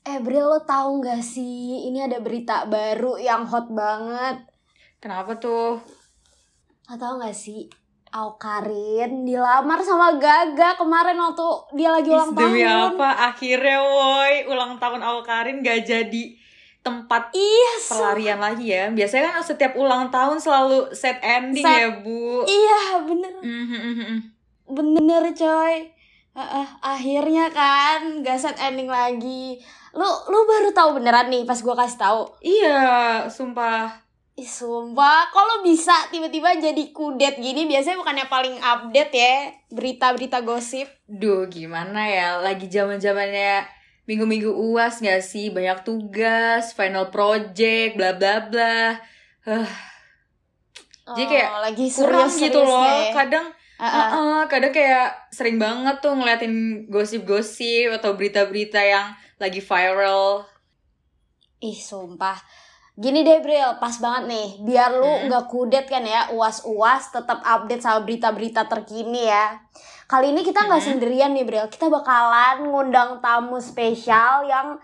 Eh, Bril, lo tau gak sih? Ini ada berita baru yang hot banget. Kenapa tuh? Lo tau gak sih? Aukarin dilamar sama Gaga kemarin waktu dia lagi ulang Demi tahun. apa? Akhirnya woi, ulang tahun awal Karin gak jadi tempat Iya, su- pelarian lagi ya. Biasanya kan setiap ulang tahun selalu set ending Sad- ya, Bu. iya bener. Mhm, mhm, mhm. Bener coy. Heeh, akhirnya kan gak set ending lagi. Lu lu baru tahu beneran nih pas gua kasih tahu. Iya, sumpah. Ih, sumpah, kalau bisa tiba-tiba jadi kudet gini biasanya bukannya paling update ya berita-berita gosip. Duh, gimana ya? Lagi zaman-zamannya minggu-minggu UAS gak sih? Banyak tugas, final project, bla bla bla. Jadi kayak Oh, lagi Kurang gitu serius-seriusnya loh. ya. Kadang Heeh. Heeh, kadang kayak sering banget tuh ngeliatin gosip-gosip atau berita-berita yang lagi viral. Ih, sumpah. Gini deh, Bril, pas banget nih. Biar lu nggak kudet kan ya, uas-uas tetap update sama berita-berita terkini ya. Kali ini kita nggak sendirian nih, Bril. Kita bakalan ngundang tamu spesial yang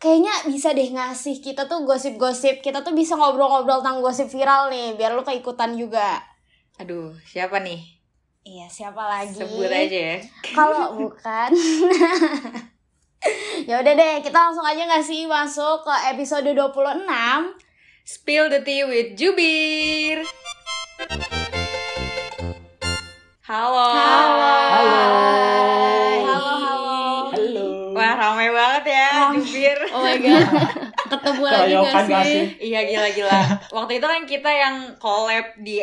kayaknya bisa deh ngasih kita tuh gosip-gosip. Kita tuh bisa ngobrol-ngobrol tentang gosip viral nih, biar lu keikutan juga. Aduh, siapa nih? Iya, siapa lagi? Sebut aja ya. Kalau bukan Ya udah deh, kita langsung aja nggak sih masuk ke episode 26 Spill the tea with Jubir. Halo. Halo. Hai. Halo, halo. Halo. Wah, ramai banget ya Jubir. Oh my god. Ketemu lagi Keroyokan gak gak sih? sih? Iya gila-gila. Waktu itu kan kita yang collab di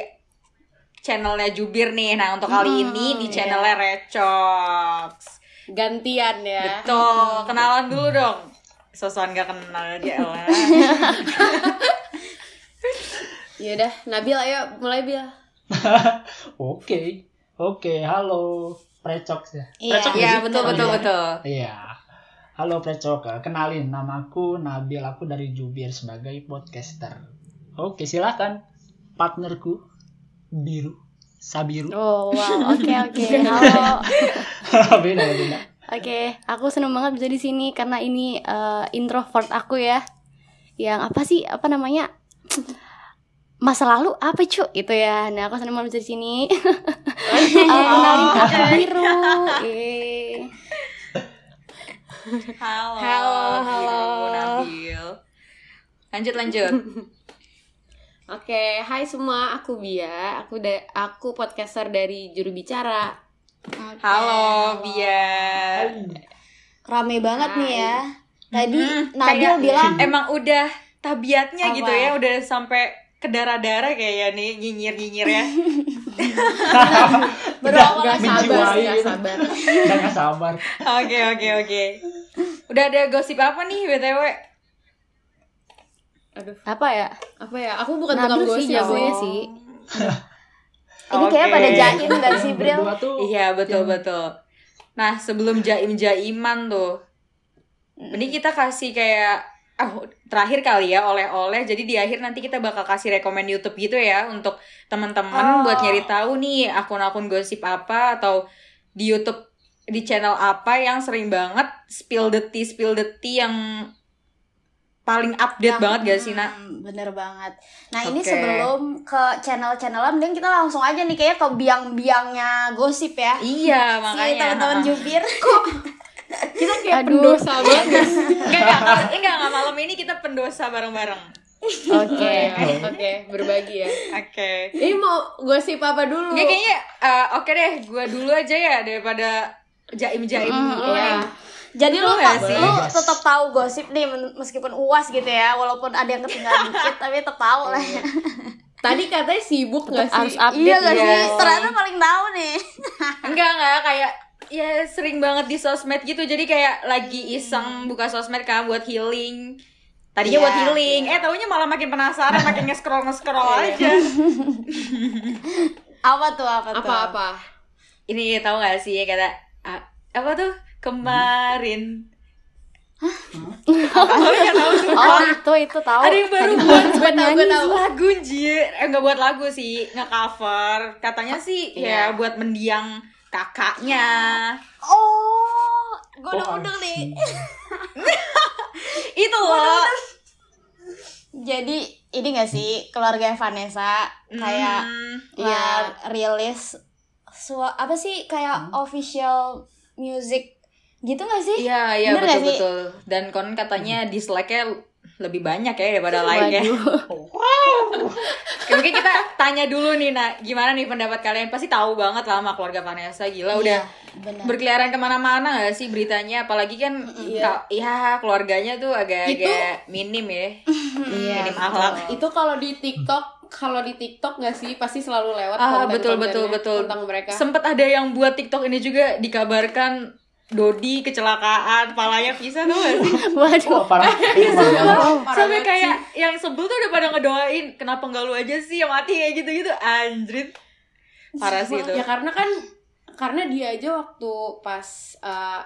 channelnya Jubir nih. Nah, untuk kali ini di channelnya Recox. Gantian ya. Betul, kenalan dulu dong. Sosokan gak kenal aja lah. Yaudah, Nabil ayo mulai Bil. Oke. Oke, halo. Precox ya. Iya. Precox Iya sih? betul betul betul. Iya. Halo Precox, kenalin namaku Nabil, aku dari Jubir sebagai podcaster. Oke, silakan. Partnerku Biru Sabiru. Oh wow, oke oke. Halo. beda beda. Oke, aku seneng banget bisa di sini karena ini eh, introvert aku ya. Yang apa sih? Apa namanya? Masa lalu apa cu? Itu ya. Nah, aku seneng banget bisa di sini. Eh, kenalin aku biru. Eh. Halo. Halo, Biru, halo. Nabil. Lanjut lanjut. Oke, hai semua, aku Bia. Aku da- aku podcaster dari juru bicara. Halo Bia. Rame banget nih ya. Tadi Mm, Nabil kayak- bilang Emang udah tabiatnya Apa? gitu ya, udah sampai ke darah-darah kayaknya nih nyinyir-nyinyir ya. berawal Udah Sabar, menjiwai ya, gitu. sabar. Udah gak sabar. Oke oke oke. Udah ada gosip apa nih BTW? Aduh, Apa ya? apa ya? Aku bukan Nabil tukang sih gosip ya, Bu. jagonya sih. ini kayak pada Oke. jaim gak sih, Bril? Eh, Berdua tuh. Iya betul betul. Nah sebelum jaim jaiman tuh, ini kita kasih kayak ah, terakhir kali ya oleh-oleh. Jadi di akhir nanti kita bakal kasih rekomend YouTube gitu ya untuk Oh. teman-teman buat nyari tahu nih akun-akun gosip apa atau di YouTube di channel apa yang sering banget spill the tea spill the tea yang paling update banget gak sih nak? Hmm, Bener banget. Nah ini Oke. sebelum ke channel-channelnya, mending kita langsung aja nih kayak ke biang-biangnya gosip ya. Iya Si makanya. teman-teman Ha-ha. jubir. Kita kayak Aduh. pendosa banget. ya. guys. Enggak, enggak, kalau- enggak, enggak, malam ini kita pendosa bareng-bareng. Oke. Oke, oke, berbagi ya. Oke. Ini mau gosip apa dulu? Ini kayaknya eh, oke deh, gue dulu aja ya daripada jaim-jaim. Iya. Jadi lu, Boleh tak- sih. lu tetap tahu gosip nih men- meskipun uas gitu ya, walaupun ada yang ketinggalan dikit tapi tetap tahu lah. Iya. Tadi katanya sibuk nggak sih? Harus update Iya gak ya. sih? Ternyata paling tahu nih. Enggak enggak kayak ya sering banget di sosmed gitu. Jadi kayak lagi iseng buka sosmed kan buat healing. Tadinya buat healing, eh taunya malah makin penasaran, makin nge-scroll nge-scroll aja. Apa tuh apa tuh? Apa-apa? Ini tahu nggak sih kata ah, apa tuh kemarin? Hah? Apa tahu tuh? Oh itu itu tahu. Ada yang baru Tadi buat buat nyanyi. lagu anjir. Eh enggak buat lagu sih, nge-cover. Katanya sih ya buat mendiang kakaknya. Oh, gue udah Oh, undang nih. anjing. Itu loh. Jadi ini gak sih keluarga Vanessa kayak Hmm. ya rilis sua- apa sih kayak official music gitu gak sih? Iya, iya Bener nggak betul sih? betul. Dan kon katanya dislike-nya lebih banyak ya daripada like-nya. Oke, Mungkin kita tanya dulu nih, nah gimana nih pendapat kalian? Pasti tahu banget lah sama keluarga Vanessa, Iya, gila udah Nah. Benar. berkeliaran kemana-mana gak sih beritanya? Apalagi kan, ka- ya keluarganya tuh Gitu. agak-agak minim ya, Oh. minim akhlak. Itu kalau di TikTok, kalau di TikTok nggak sih pasti selalu lewat Ah betul konten-kontennya betul betul. ya, tentang mereka. Sempet ada yang buat TikTok ini juga dikabarkan Dodi kecelakaan, palanya pisah tuh gak sih? Wah, Waduh. Oh, parah. Itu parah banget. Oh. sampai kayak yang sebel tuh udah pada ngedoain kenapa nggak lu aja sih yang mati kayak gitu gitu anjrit parah sih itu Ya karena kan karena dia aja waktu pas eh,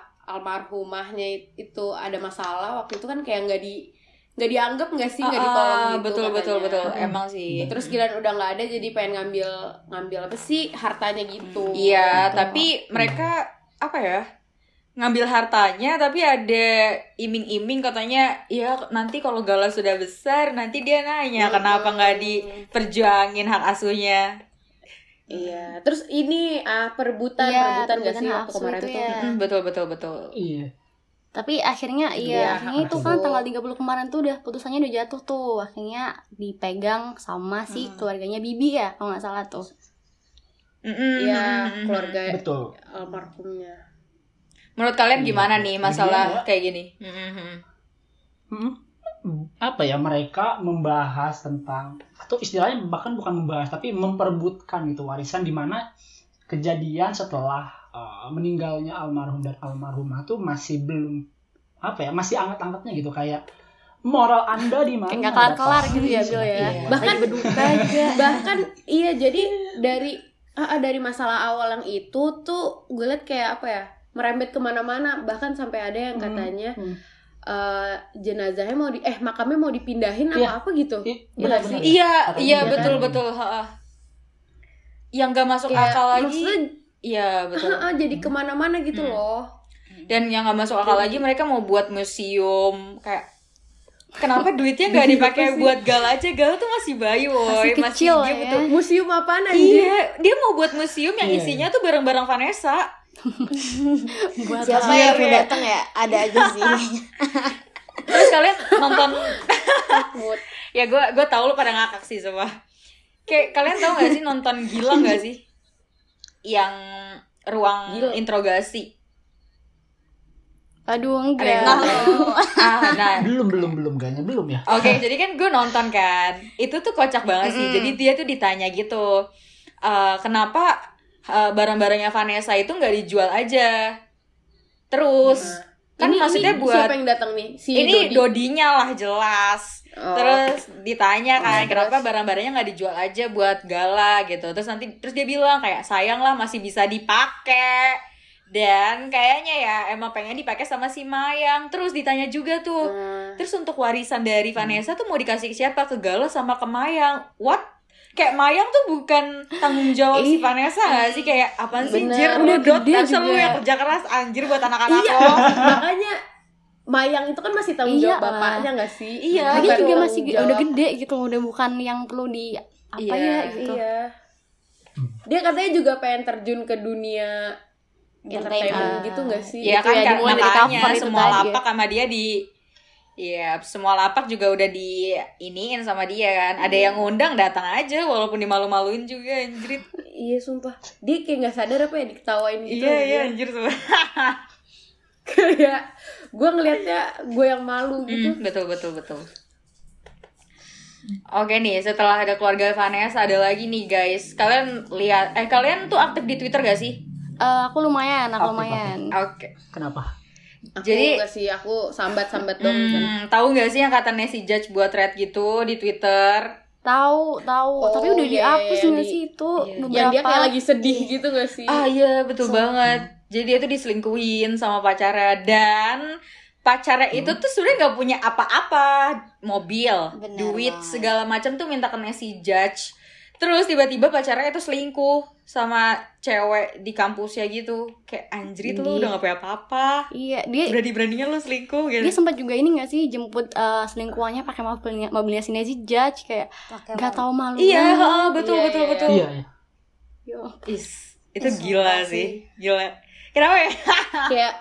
almarhumahnya itu ada masalah waktu itu kan kayak nggak di nggak dianggap nggak sih nggak ditolong Ah, gitu betul betul katanya. Iya, betul emang sih Terus giliran udah nggak ada jadi pengen ngambil ngambil apa sih hartanya gitu. iya tapi mereka apa ya ngambil hartanya tapi ada iming-iming katanya ya nanti kalau Gala sudah besar nanti dia nanya kenapa nggak diperjuangin hak asuhnya Iya. Terus ini ah, perebutan perebutan nggak Iya, perebutan sih hak waktu asuh kemarin itu tuh. ya. Mm, betul betul betul Iya. Tapi akhirnya Iya, iya, akhirnya itu kan betul. tanggal 30 kemarin tuh udah putusannya udah jatuh tuh. Akhirnya dipegang sama si Hmm. keluarganya Bibi ya, kalau nggak salah tuh. Mm-mm, Iya, mm-mm. keluarga Betul. almarhumnya. menurut kalian Iya. gimana nih Iya. masalah kayak gini Mm-mm. Hmm, apa ya mereka membahas tentang atau istilahnya bahkan bukan membahas tapi memperebutkan gitu warisan di mana kejadian setelah eh, meninggalnya almarhum dan almarhumah tuh masih belum apa ya masih anget-angetnya gitu kayak moral anda di mana Kayak nggak kelar-kelar gitu ya, Bil ya. Iya. Bahkan Berduka aja. bahkan iya jadi dari ah, ah, dari masalah awal yang itu tuh gue liat kayak apa ya merembet kemana-mana bahkan sampai ada yang Hmm, katanya hmm. eh, jenazahnya mau di eh makamnya mau dipindahin Iya. apa apa gitu Iya, Iya benar, sih? benar. Iya, Atau iya enggak betul kan? betul. ha-ha. Yang nggak masuk Kayak, akal lagi, maksudnya iya betul. ah, ah, jadi kemana-mana gitu Hmm. loh Dan yang nggak masuk akal lagi mereka mau buat museum kayak kenapa duitnya nggak dipakai buat gala aja? Gala tuh masih bayi, woi, Masih kecil dia ya. butuh- museum apaan anjir Iya, dia mau buat museum yang Iya, isinya tuh barang-barang Vanessa. Buat Siapa Iya, yang udah iya. datang ya? Ada aja sih. Terus kalian nonton Takut. ya gue gue tau lu pada ngakak sih semua kayak kalian tau gak sih nonton Gilang gak sih yang ruang Gila. interogasi ada Aduh yang enggak. tahu ah nah belum belum belum kayaknya belum ya Oke, jadi kan gue nonton kan. Itu tuh kocak banget sih. Jadi dia tuh ditanya gitu, "Eh, kenapa eh, barang-barangnya Vanessa itu nggak dijual aja? Terus kan Nah, Ini- maksudnya ini buat siapa yang datang nih si ini Dodi. dodinya lah jelas. Oh. Terus ditanya kan kenapa barang-barangnya nggak dijual aja buat gala gitu. Terus nanti terus dia bilang kayak sayang lah masih bisa dipakai. Dan kayaknya ya emang pengen dipakai sama si Mayang. Terus ditanya juga tuh. Hmm. Terus untuk warisan dari Hmm. Vanessa tuh mau dikasih ke siapa? Ke Gala sama ke Mayang. What? Kayak Mayang tuh bukan tanggung jawab si Vanessa gak sih? Kayak apaan sih? Bener. Anjir, Udah udah dot gede kan selalu juga. yang kerja keras anjir buat anak-anak Iya. lo. makanya Mayang itu kan masih tanggung jawab Iya lah. bapaknya nggak sih Iya. Lagi Bukan juga tanggung masih ge- jawab. udah gede gitu, udah bukan yang perlu di apa Iya, ya gitu. Iya. Dia katanya juga pengen terjun ke dunia entertainment Entertainment. gitu gak sih? Iya kan ya, karena dimulai dari makanya cover itu semua tadi. ya. lapak sama dia di Iya, semua lapak juga udah di iniin sama dia kan. Iya. Ada yang ngundang datang aja walaupun dimalu-maluin juga anjir. Iya sumpah. Dia kayak gak sadar apa ya diketawain gitu. Iya, iya anjir semua. kayak gue ngelihatnya gue yang malu Hmm, gitu betul betul betul. Oke nih, setelah ada keluarga Vanessa ada lagi nih guys. Kalian lihat eh kalian tuh aktif di Twitter gak sih? Eh, aku lumayan, Aktif, aku lumayan. Oke. Kenapa? aku Jadi- nggak sih aku sambat sambat dong Hmm, tahu nggak sih yang katanya si Judge buat thread gitu di Twitter? Tahu, tahu. Oh, Tapi udah iya, dihapus iya, di- nggak sih itu beberapa. yang Ya, dia kayak lagi sedih gitu gak sih Ah iya, betul banget. Jadi dia tuh diselingkuhin sama pacarnya dan pacarnya itu tuh sebenarnya nggak punya apa-apa, mobil, Bener duit banget. segala macam tuh minta ke si Judge. Terus tiba-tiba pacarnya itu selingkuh sama cewek di kampusnya gitu. Kayak anjrit lu Iya. udah gak punya apa-apa. Iya, dia Berani-beraninya lu selingkuh dia gitu. sempat juga ini nggak sih jemput eh, selingkuhannya pakai mobilnya mobilnya si Nezi Judge kayak Pakai nggak tahu malu. Iya, heeh, betul Iya, betul iya, betul. Iya, iya. Is, itu gila sih. Gila. Kenapa ya? kayak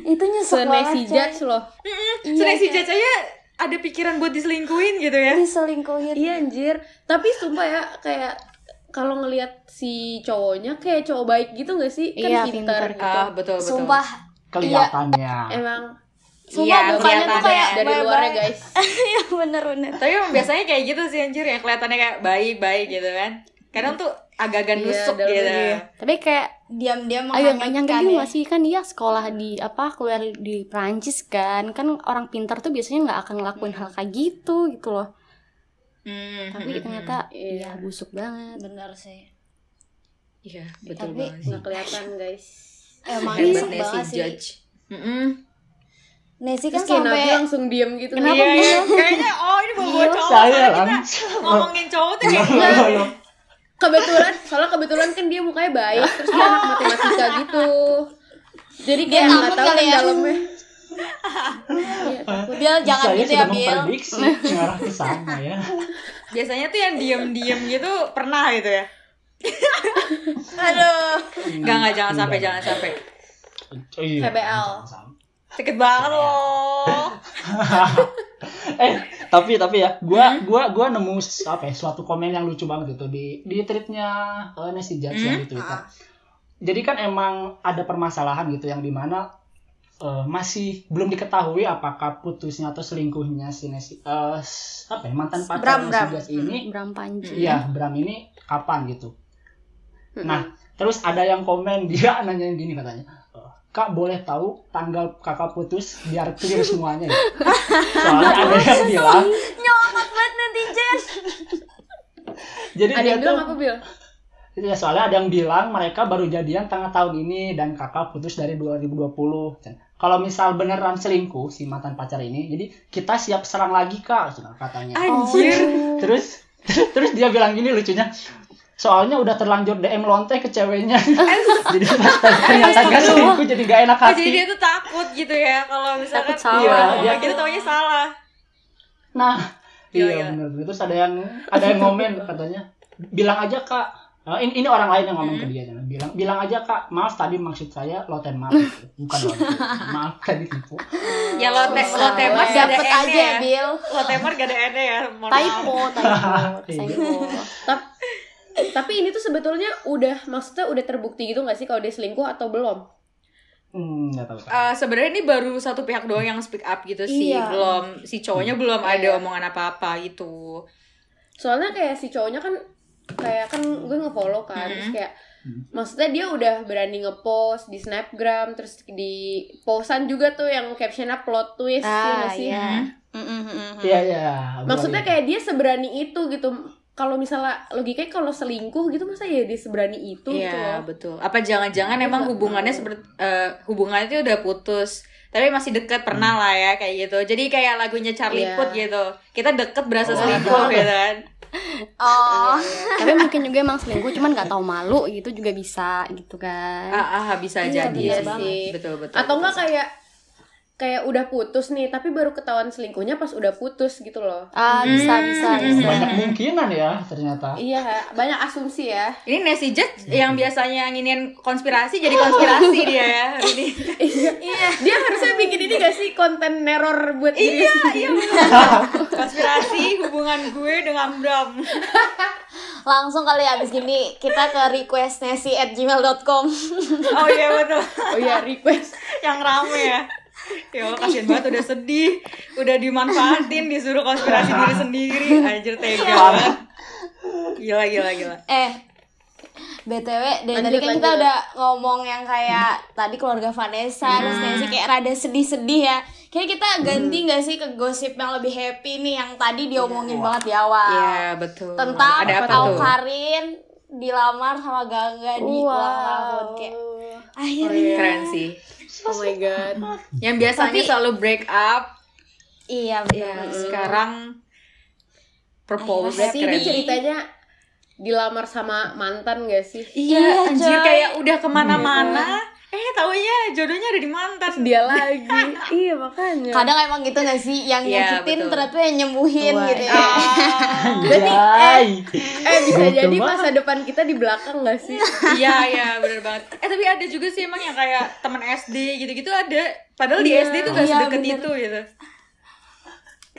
itu nyesek banget senesi coy. judge loh Iya, Sebenarnya si coy. Judge aja ada pikiran buat diselingkuhin gitu ya. diselingkuhin iya anjir tapi sumpah ya kayak kalau ngelihat si cowoknya kayak cowok baik gitu gak sih kan Iya, pintar pintar. gitu Ah, betul betul. sumpah Kelihatannya. emang sumpah Iya, bukannya tuh kelihatannya. ya, kayak ya, dari bye-bye. luarnya guys iya bener bener Tapi emang biasanya kayak gitu sih anjir yang kelihatannya kayak baik-baik gitu kan. Kadang tuh agak-agak Iya, nusuk dalamnya gitu. dia. Tapi kayak diam-diam agak nggak nyangka menghanyutkan juga ya. nggak sih kan dia sekolah di apa keluar di Prancis kan kan orang pintar tuh biasanya nggak akan ngelakuin hal kayak gitu gitu loh. Hmm, Tapi hmm, hmm. ternyata Iya. ya busuk banget. bener sih iya, betul Tapi- banget. sih. nggak kelihatan guys emang Hebatnya nyesek banget si sih Judge. Mm-mm. Nesi kan terus kayak Nabi sampai langsung diem gitu Kenapa? Iya, iya. kayaknya oh ini bawa Iya, cowok. saya Iya. Soalnya lah. kita ngomongin cowok tuh kayak Loh, loh, loh. kebetulan soalnya kebetulan kan dia mukanya baik terus dia anak matematika gitu jadi Dia kayak nggak takut tahu kali kan Iya. ya. dalamnya Bill jangan Saya gitu ya sudah Bill memprediksi mengarah ke sana ya. biasanya tuh yang diem-diem gitu pernah gitu ya. aduh Enggak enggak jangan sampai jangan sampai. Oh, iya. KBL. Sakit banget loh. eh tapi tapi ya Hmm? gua gua gua nemu s- apa ya, suatu komen yang lucu banget itu di di tweetnya eh, Nancy Judge yang Hmm? di Ah. Twitter. Jadi kan emang ada permasalahan gitu yang dimana eh, masih belum diketahui apakah putusnya atau selingkuhnya si Nancy eh, s- apa ya, mantan pacar Bram, Nancy Bram. Hmm. Judge ini Bram Panji. Hmm. Iya, Bram ini kapan gitu. Nah, terus ada yang komen dia nanyain gini katanya. "E, Kak boleh tahu tanggal kakak putus biar clear semuanya ya. Soalnya ada yang bilang, nyolot banget netizen jadi ada Iya, dia yang tuh, bilang apa Bill? ya, soalnya ada yang bilang mereka baru jadian tengah tahun ini dan kakak putus dari 2020. Dan Kalau misal beneran selingkuh si mantan pacar ini, jadi kita siap serang lagi kak, katanya. Anjir. Oh. Terus terus dia bilang gini lucunya. Soalnya udah terlanjur DM lonte ke ceweknya. jadi pas ternyata gak selingkuh jadi gak enak Eh, Oh, jadi dia hati. tuh takut gitu ya kalau misalkan Takut salah. Iya, Iya. kita taunya salah. Nah, Iya, iya iya. bener. Terus ada yang ada yang ngomen katanya, "Bilang aja Kak, Eh, ini, ini orang lain yang ngomong Hmm. ke dia bilang bilang aja kak maaf tadi maksud saya loten maaf bukan lonte maaf tadi tipu Ya lo te lo temor gak ada dapet N-nya aja ya. Bill Lo temor gak ada N-nya ya. Mohon maaf. Typo, typo, Iya. typo. Ta- tapi ini tuh sebetulnya udah maksudnya udah terbukti gitu nggak sih kalau dia selingkuh atau belum hmm nggak tahu Kak. Oh. Eh, sebenarnya ini baru satu pihak doang yang speak up gitu sih Iya. belum si cowoknya belum ada omongan apa-apa gitu soalnya kayak si cowoknya kan kayak kan gue ngefollow kan terus Hmm. kayak maksudnya dia udah berani ngepost di snapgram terus di posan juga tuh yang captionnya plot twist ya nggak Ah, sih iya. Mm, iya iya gua maksudnya lihat. kayak dia seberani itu gitu kalau misalnya logikanya kalau selingkuh gitu masa ya dia seberani itu gitu Iya loh betul apa jangan-jangan emang hubungannya seperti eh, hubungannya itu udah putus tapi masih deket pernah lah ya kayak gitu jadi kayak lagunya Charlie Iya. Puth gitu kita deket berasa selingkuh gitu kan oh Tapi mungkin juga emang selingkuh cuman nggak tahu malu gitu juga bisa gitu kan. ah, ah bisa Iya, jadi bener banget. betul betul atau enggak kayak kayak udah putus nih tapi baru ketahuan selingkuhnya pas udah putus gitu loh Ah, bisa bisa bisa. banyak kemungkinan ya ternyata Hmm. iya banyak asumsi ya Ini Nancy Judge yang biasanya nginin konspirasi jadi konspirasi dia ya. hari Ini. iya dia harusnya bikin ini gak sih konten neror buat diri Iya, bener. konspirasi hubungan gue dengan Bram. langsung kali abis gini kita ke request nesi at gmail.com Oh iya betul. oh iya request yang rame ya ya Allah kasihan banget udah sedih udah dimanfaatin disuruh konspirasi diri sendiri anjir tega banget gila gila gila eh BTW dari tadi Lanjut, kan lanjut. kita udah ngomong yang kayak tadi keluarga Vanessa Hmm. terus Nancy kayak rada sedih-sedih ya. Kayaknya kita ganti nggak sih ke gosip yang lebih happy nih yang tadi diomongin banget di awal. Iya betul Tentang ada apa tahu tuh Karin dilamar sama Gangga di ulang tahun kayak akhirnya keren sih Oh my god. yang biasanya selalu break up iya ya benar. sekarang propose Berarti ini keren ceritanya dilamar sama mantan gak sih? iya Iya, anjir coy. kayak udah kemana-mana eh taunya jodohnya ada di mantan Dia lagi. iya makanya. Kadang emang gitu gak sih yang Iya, nyakitin betul. ternyata yang nyembuhin gitu ya. Iya. Anjay. Eh bisa Betul jadi banget. masa depan kita di belakang gak sih? Iya iya bener banget. Eh tapi ada juga sih emang yang kayak teman SD gitu-gitu ada. Padahal di SD tuh gak iya, sedekat bener. itu gitu.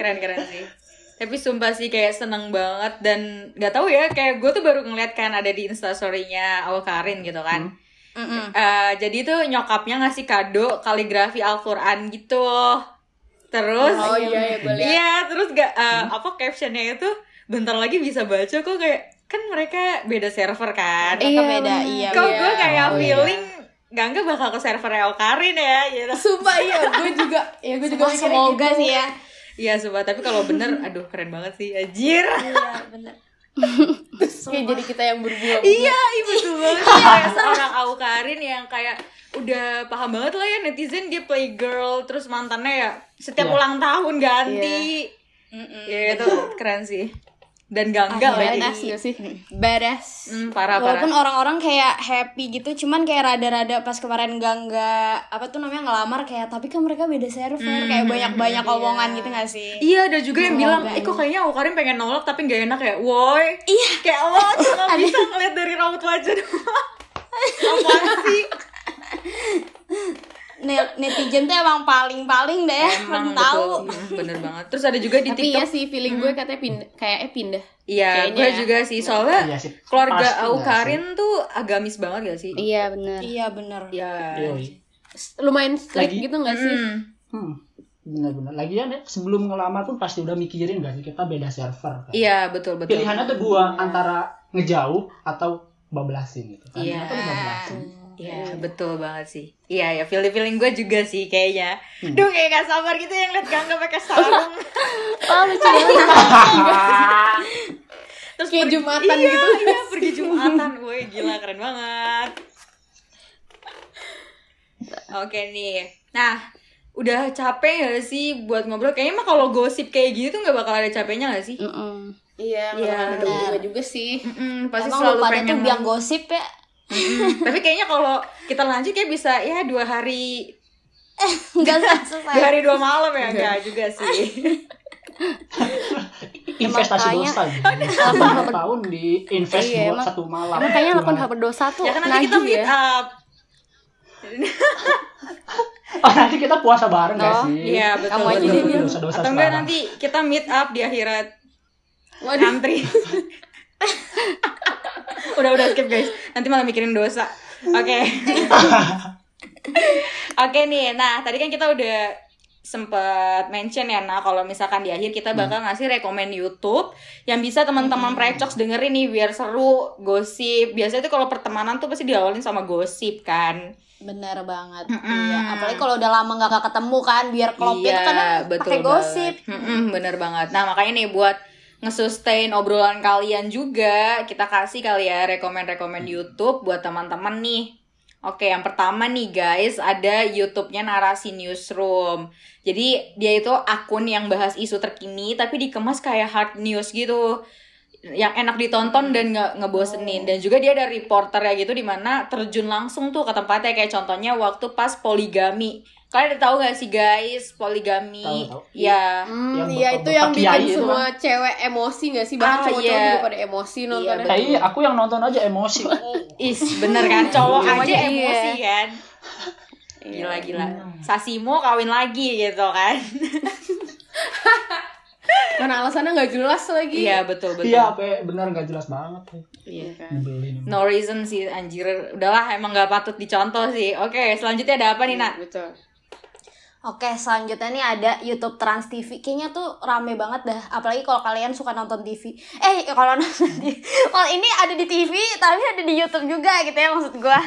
Keren keren sih. Tapi sumpah sih kayak seneng banget dan gak tahu ya kayak gue tuh baru ngeliat kan ada di instastorynya Awal Karin gitu kan. Hmm. Eh, jadi tuh nyokapnya ngasih kado kaligrafi Al-Quran gitu. Terus Oh iya ya gue liat. Hmm. Iya, terus gak eh, apa captionnya itu bentar lagi bisa baca kok kayak kan mereka beda server kan. Tetap beda iya. Kok gue kayak Oh, iya. feeling Gangga bakal ke server Karin ya gitu. Sumpah iya, gue juga, ya gue juga Wah, semoga sih ya. Iya sumpah, tapi kalau bener, aduh keren banget sih, anjir Iya, benar. kayak jadi kita yang berbunga. Iya, iya betul banget Kayak seorang Au Karin yang kayak udah paham banget lah ya netizen dia playgirl Terus mantannya ya setiap Iya. ulang tahun ganti Iya itu keren sih Dan Gangga Akhirnya lagi sih. Beres. hmm, Parah, Walaupun parah orang-orang kayak happy gitu, cuman kayak rada-rada pas kemarin Gangga apa tuh namanya ngelamar kayak tapi kan mereka beda server, kayak Mm-hmm. banyak-banyak omongan gitu gak sih? Iya, ada juga yang bilang, eh kok kayaknya Au Karin pengen nolak tapi gak enak ya Woi, Iya. kayak Allah cuma bisa ngeliat dari rambut wajah doang Apaan sih? Ne- netizen tuh emang paling-paling deh, ya, Emang tahu. betul, Mm, bener banget. Terus ada juga di Tapi TikTok. iya sih feeling gue katanya pindah, kayak eh pindah. Iya, Kayaknya gue ya. juga sih soalnya Iya sih, keluarga pasti Au nggak Karin tuh agamis banget gak sih? Iya benar. Iya bener. Iya. Yoi. S- Lumayan strict Lagi. gitu gak sih? Hmm. Hmm. Benar-benar. Lagian ya, sebelum ngelamar pun pasti udah mikirin gak sih kita beda server. Kan? Iya, betul betul. Pilihannya tuh dua antara ngejauh atau bablasin gitu kan. Iya. Atau bablasin. Iya, betul banget sih. Iya, ya feeling-feeling gue juga sih kayaknya. Hmm. Duh, kayak gak sabar gitu yang liat Gangga pakai sarung. Oh lucu banget. Terus Kayak pergi- Jumatan iya, gitu. Iya, pergi Jumatan. Woi, gila keren banget. Oke nih. Nah, udah capek gak sih buat ngobrol? Kayaknya mah kalau gosip kayak gini tuh gak bakal ada capeknya gak sih? Mm-mm. Iya, Iya, iya. ada bunga juga sih. Mm-mm, pasti Emang selalu lu pada pengen tuh biang gosip ya? Mm, Tapi kayaknya kalau kita lanjut ya bisa ya dua hari Enggak selesai. dua hari dua malam ya enggak juga sih. Investasi Makanya- dosa gitu. Satu tahun di invest Iya, buat emang- satu malam. Emang kayaknya lakukan hal Gimana? berdosa tuh ya kan nanti kita nagih meet ya. up. Oh, nanti kita puasa bareng gak Oh, sih? Iya betul. Kamu aja betul, deh, betul. Dosa -dosa Atau enggak nanti kita meet up di akhirat. Antri. udah udah skip guys. Nanti malah mikirin dosa. Oke. Oke nih. Nah, tadi kan kita udah sempet mention ya nah kalau misalkan di akhir kita bakal ngasih rekomend YouTube yang bisa teman-teman precox dengerin nih biar seru gosip biasanya tuh kalau pertemanan tuh pasti diawalin sama gosip kan Bener banget. Mm-mm. Iya, Iya, apalagi kalau udah lama nggak ketemu kan, biar klopnya tuh kadang pakai gosip. banget. Mm-mm, bener banget. Nah makanya nih buat ngesustain obrolan kalian juga kita kasih kali ya rekomend-rekomend YouTube buat teman-teman nih. Oke, yang pertama nih guys ada YouTube-nya Narasi Newsroom. Jadi dia itu akun yang bahas isu terkini tapi dikemas kayak hard news gitu yang enak ditonton dan nge ngebosenin dan juga dia ada reporter ya gitu dimana terjun langsung tuh ke tempatnya kayak contohnya waktu pas poligami kalian udah tahu gak sih guys poligami Tahu, tahu. ya Hmm, Yang iya bapak- itu yang bapak bikin kiai itu kan? semua cewek emosi gak sih? Bahkan Ah, cowok-cowok iya. juga pada emosi nontonnya. Eh, iya, aku yang nonton aja emosi. is bener kan cowok aja Iya. emosi kan gila-gila Sasimo kawin lagi gitu kan karena alasannya nggak jelas lagi Iya betul betul. Iya, Pe, benar nggak jelas banget. Pe. Iya kan. Nyebelin. emang. No reason sih anjir. Udahlah emang nggak patut dicontoh sih. Oke, selanjutnya ada apa nih, Nak? betul Oke, selanjutnya nih ada YouTube Trans TV. Kayaknya tuh rame banget dah. Apalagi kalau kalian suka nonton TV. Eh, kalau nonton di- kalau ini ada di TV, tapi ada di YouTube juga gitu ya maksud gua.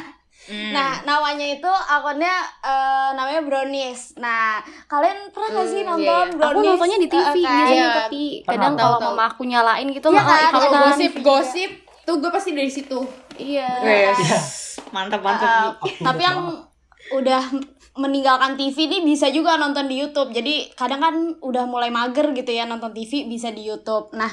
Nah, namanya itu akunnya eh, namanya Brownies. Nah, kalian pernah nggak sih Hmm, nonton iya, iya. Brownies? aku nontonnya di TV Eh, kan? biasanya Iya. tapi Pernah, kadang tahu, kalau tahu. mama aku nyalain gitu Iya malah kan, kalau ikutan. gosip gosip tuh gue pasti dari situ iya Wes, mantap mantap. Eh, Aku udah tapi yang udah meninggalkan TV nih bisa juga nonton di YouTube. Jadi kadang kan udah mulai mager gitu ya nonton TV bisa di YouTube. Nah,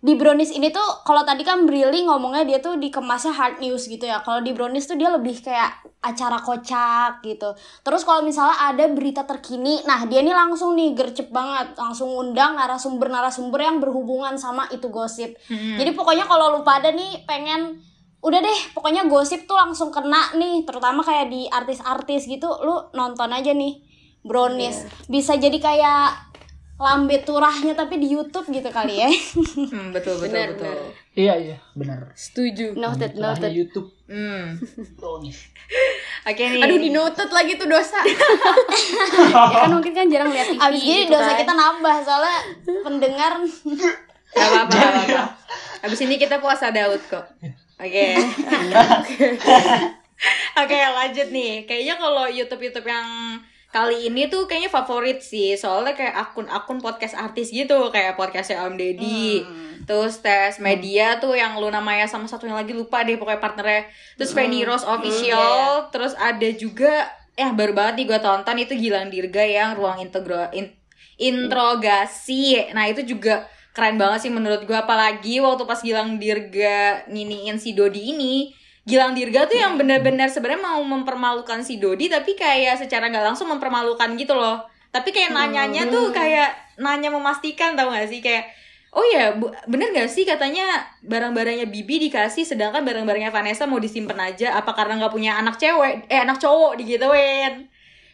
di Brownies ini tuh kalau tadi kan Brili ngomongnya dia tuh dikemasnya hard news gitu ya. Kalau di Brownies tuh dia lebih kayak acara kocak gitu. Terus kalau misalnya ada berita terkini, nah dia nih langsung nih gercep banget, langsung undang narasumber-narasumber yang berhubungan sama itu gosip. Jadi pokoknya kalau lu pada nih pengen udah deh pokoknya gosip tuh langsung kena nih terutama kayak di artis-artis gitu lu nonton aja nih brownies bisa jadi kayak lambe turahnya tapi di YouTube gitu kali ya Hmm, betul betul Benar, betul. benar. Iya, iya, benar. setuju noted Celahnya noted YouTube Hmm. Brownies. Oke nih. aduh di noted lagi tuh dosa ya kan mungkin kan jarang lihat TV abis ini gitu dosa kan. kita nambah soalnya pendengar Gak apa-apa, gak apa-apa. Abis ini kita puasa Daud kok. Oke. Oke, lanjut nih. Kayaknya kalau YouTube-YouTube yang kali ini tuh kayaknya favorit sih. Soalnya kayak akun-akun podcast artis gitu, kayak podcastnya Om Deddy. Terus tes media tuh yang Luna Maya sama satunya lagi lupa deh pokoknya partnernya. Terus Feni Rose official, terus ada juga eh baru banget nih gue tonton itu Gilang Dirga yang ruang integro in- interogasi. Nah, itu juga keren banget sih menurut gue apalagi waktu pas Gilang Dirga nginiin si Dodi ini. Gilang Dirga tuh yang benar-benar sebenarnya mau mempermalukan si Dodi tapi kayak secara nggak langsung mempermalukan gitu loh. Tapi kayak nanyanya tuh kayak nanya memastikan tau gak sih kayak Oh ya, bu- bener gak sih katanya barang-barangnya Bibi dikasih sedangkan barang-barangnya Vanessa mau disimpen aja apa karena nggak punya anak cewek eh anak cowok digituin.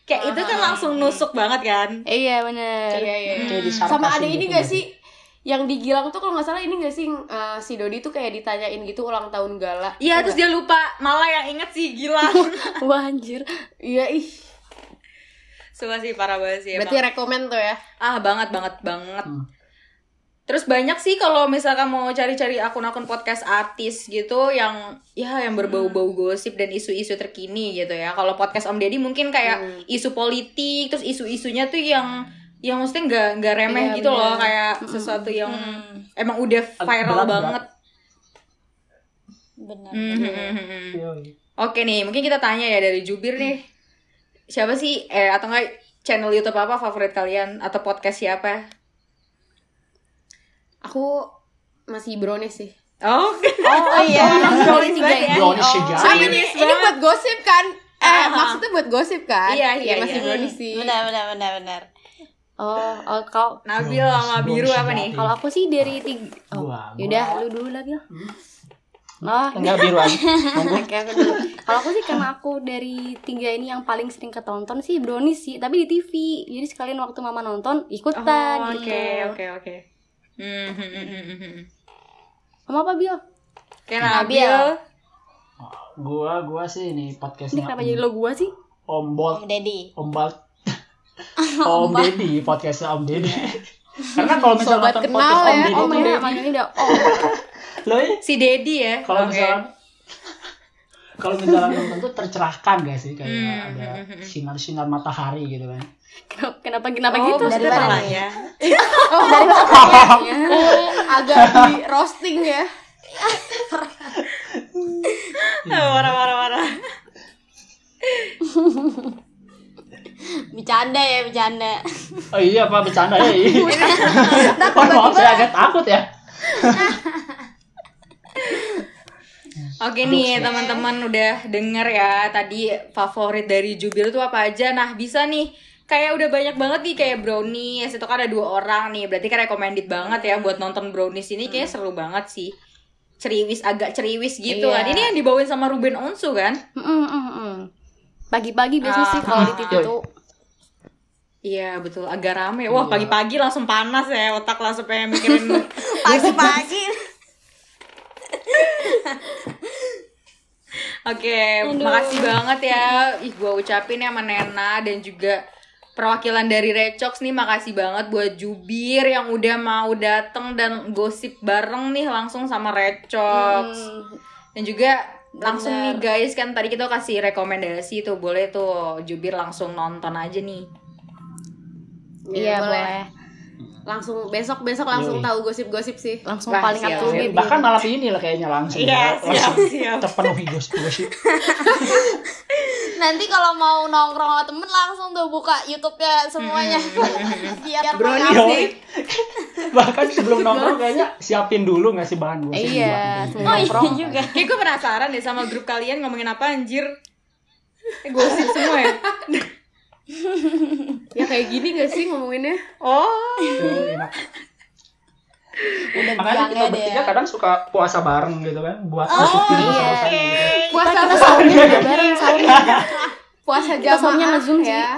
Kayak itu kan langsung nusuk banget kan. iya bener Kayak di sama sarkasin ada ini gitu gak berarti. sih yang digilang tuh kalau nggak salah ini gak sih eh, si Dodi tuh kayak ditanyain gitu ulang tahun gala Iya, terus dia lupa. Malah yang inget sih Gilang. wah anjir iya ih Sumpah sih parah banget sih. berarti Iya, emang. rekomend tuh ya Ah, banget banget banget. Hmm. Terus banyak sih kalau misalkan mau cari-cari akun-akun podcast artis gitu yang ya yang berbau-bau gosip dan isu-isu terkini gitu ya. Kalau podcast Om Deddy mungkin kayak isu politik, terus isu-isunya tuh yang yang maksudnya nggak nggak remeh gitu loh kayak sesuatu yang emang udah viral Berat, berat. banget. bener Hmm, hmm, Mhm. hmm, hmm. Iya, iya. Oke nih, mungkin kita tanya ya dari jubir nih. Siapa sih eh atau enggak channel YouTube apa favorit kalian atau podcast siapa? aku masih brownies sih Oh, oh iya sorry ya. Brownies sejarah. Sama ini, ini buat gosip kan? Eh, maksudnya buat gosip kan? Iya, iya, masih iya. brownies sih. bener bener bener bener oh, oh kalau Nabil sama biru apa nih? kalau aku sih dari tiga oh, Gua, gua. yaudah lu dulu lagi lah Hmm. oh Enggak biru aja. Monggo. Oke, aku dulu. Kalau aku sih karena aku dari tiga ini yang paling sering ketonton sih Brownies sih, tapi di TV. Jadi sekalian waktu mama nonton ikutan Oh, gitu. Oke, oke, oke. Hmm, hmm, hmm, hmm, hmm. Sama apa Bil? Oke, Nabil. Gua gua sih ini Ini podcastnya kenapa jadi lo gua sih? Om Bolt, Om Deddy Om Bolt. Om Deddy, podcastnya Om Deddy. Karena kalau misalnya Sobat nonton kenal podcast Om ya, Deddy, Oh, Om mana Deddy. manggilnya udah oh. lo ya, Si Dedi ya. kalau Oke. misalnya kalau misalnya nonton tuh tercerahkan gak sih kayak Hmm, ada hmm, hmm, hmm. sinar-sinar matahari gitu kan. Kenapa kenapa, kenapa Oh, gitu? maksudnya Dari mana palanya. Agak di roasting ya. Warah, warah, warah. bercanda ya bercanda Oh iya Pak bercanda ya. iya. Mohon maaf saya agak takut ya. Oke nih teman-teman udah denger ya tadi favorit dari Jubil tuh apa aja. Nah bisa nih kayak udah banyak banget nih kayak brownies itu kan ada dua orang nih berarti kan recommended banget ya buat nonton brownies ini kayak seru banget sih ceriwis agak ceriwis gitu kan ini yang dibawain sama Ruben Onsu kan Ah, Mm, mm, mm, mm. Pagi-pagi biasanya sih kalau di TV Yoi. tuh Iya betul agak rame. Wah pagi-pagi langsung panas ya otak langsung pengen mikirin. Pagi-pagi. Oke makasih banget ya. Ih gua ucapin ya sama Nena dan juga perwakilan dari Recox nih makasih banget buat Jubir yang udah mau dateng dan gosip bareng nih langsung sama Recox. Dan juga langsung nih guys kan tadi kita kasih rekomendasi tuh boleh tuh Jubir langsung nonton aja nih. Iya, boleh. Langsung besok besok langsung Yoi. tahu gosip-gosip sih. Langsung Wah, paling gitu. siap. up to date. Bahkan malam ini lah kayaknya langsung. ya. Iya, siap, Langsung siap. Terpenuhi gosip-gosip. Nanti kalau mau nongkrong sama temen langsung tuh buka YouTube-nya semuanya. Biar Brownies mengabdi. nih. Iya. Bahkan sebelum nongkrong kayaknya siapin dulu nggak sih bahan gosip Iya, buat sebelum nongkrong. juga. Kayak gue penasaran deh sama grup kalian ngomongin apa anjir. Eh, Gosip semua ya. Ya kayak gini gak sih ngomonginnya? Oh. Tuh, enak. Udah Makanya biangnya kita deh. bertiga kadang suka puasa bareng gitu kan buat nutupin dosa-dosanya gitu. Puasa kita sahurnya juga bareng sahurnya. Puasa Kita jamaah sahurnya nge-zoom sih. ya.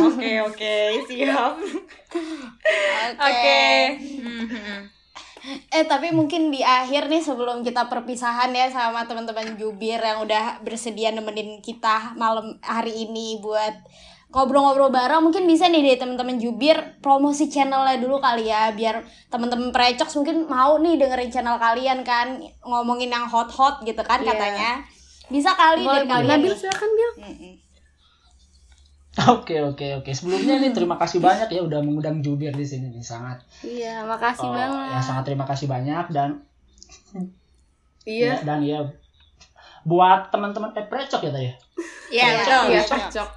Oke, oke, siap. Oke. Oke. Mhm. Eh tapi mungkin di akhir nih sebelum kita perpisahan ya sama teman-teman jubir yang udah bersedia nemenin kita malam hari ini buat ngobrol-ngobrol bareng mungkin bisa nih dari teman-teman jubir promosi channelnya dulu kali ya biar teman-teman precox mungkin mau nih dengerin channel kalian kan ngomongin yang hot-hot gitu kan katanya bisa kali dari Iya, kalian Nabil silakan Bil. Mm-mm. Oke oke oke. Sebelumnya nih terima kasih banyak ya udah mengundang Jubir di sini nih sangat. Iya, makasih Oh. eh, banget. Ya sangat terima kasih banyak dan ya, Iya. dan ya buat teman-teman eh precok ya tadi. ya? Ya, betul. Iya, cocok.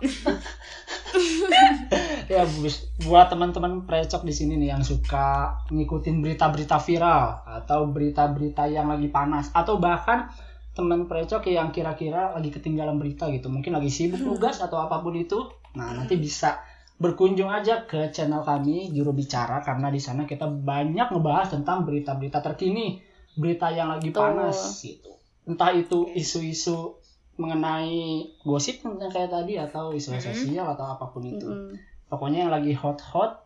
Ya bus- buat teman-teman precok di sini nih yang suka ngikutin berita-berita viral atau berita-berita yang lagi panas atau bahkan teman precok yang kira-kira lagi ketinggalan berita gitu mungkin lagi sibuk tugas atau apapun itu nah nanti bisa berkunjung aja ke channel kami juru bicara karena di sana kita banyak ngebahas tentang berita-berita terkini berita yang lagi Betul. panas gitu entah itu isu-isu mengenai gosip yang kayak tadi atau isu Mhm. sosial atau apapun itu Mm-mm. pokoknya yang lagi hot-hot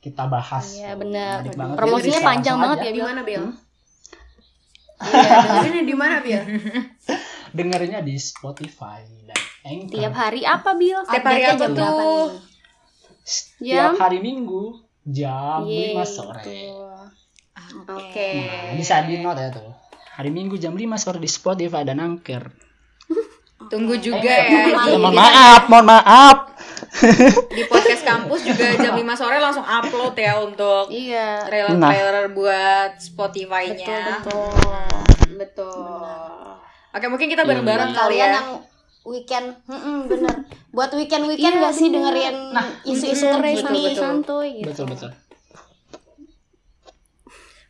kita bahas. Iya, benar. Menarik banget. Promosinya Jadi, panjang langsung banget aja. ya, Di Bil. mana, Bil? Hmm? Iya, dengerinnya di mana, Bil? Dengerinnya di Spotify dan Anchor. Tiap hari apa, Bil? Setiap hari Update-nya apa jam tuh? berapa nih? Setiap Jam? hari Minggu jam Yeay, 5 sore. Iya, betul. Ah, Oke. Nah, bisa di note ya tuh. Hari Minggu jam 5 sore di Spotify dan Anchor. Tunggu juga ya Iya. Eh, mohon di, maaf, mohon maaf. di podcast kampus juga jam 5 sore langsung upload ya untuk Iya. trailer-trailer buat Spotify-nya. Hmm, Betul. Oke, mungkin kita bareng-bareng kali kalian ya. yang weekend mm bener buat weekend weekend Iya, gak sih bener. dengerin isu-isu Sore terkini santai santuy gitu. Betul betul.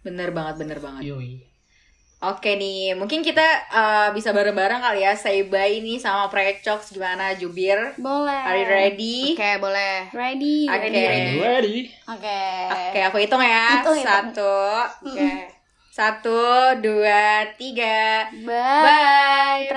Bener banget, bener banget. Yoi. Oke nih, mungkin kita eh, bisa bareng-bareng kali ya say bye nih sama Precox gimana Jubir? Boleh. Are you ready? Oke, boleh. Ready. Oke. I'm ready. Oke. Oke, aku hitung ya. Hitung, hitung. Satu, oke. Satu, dua, tiga. Bye. Bye.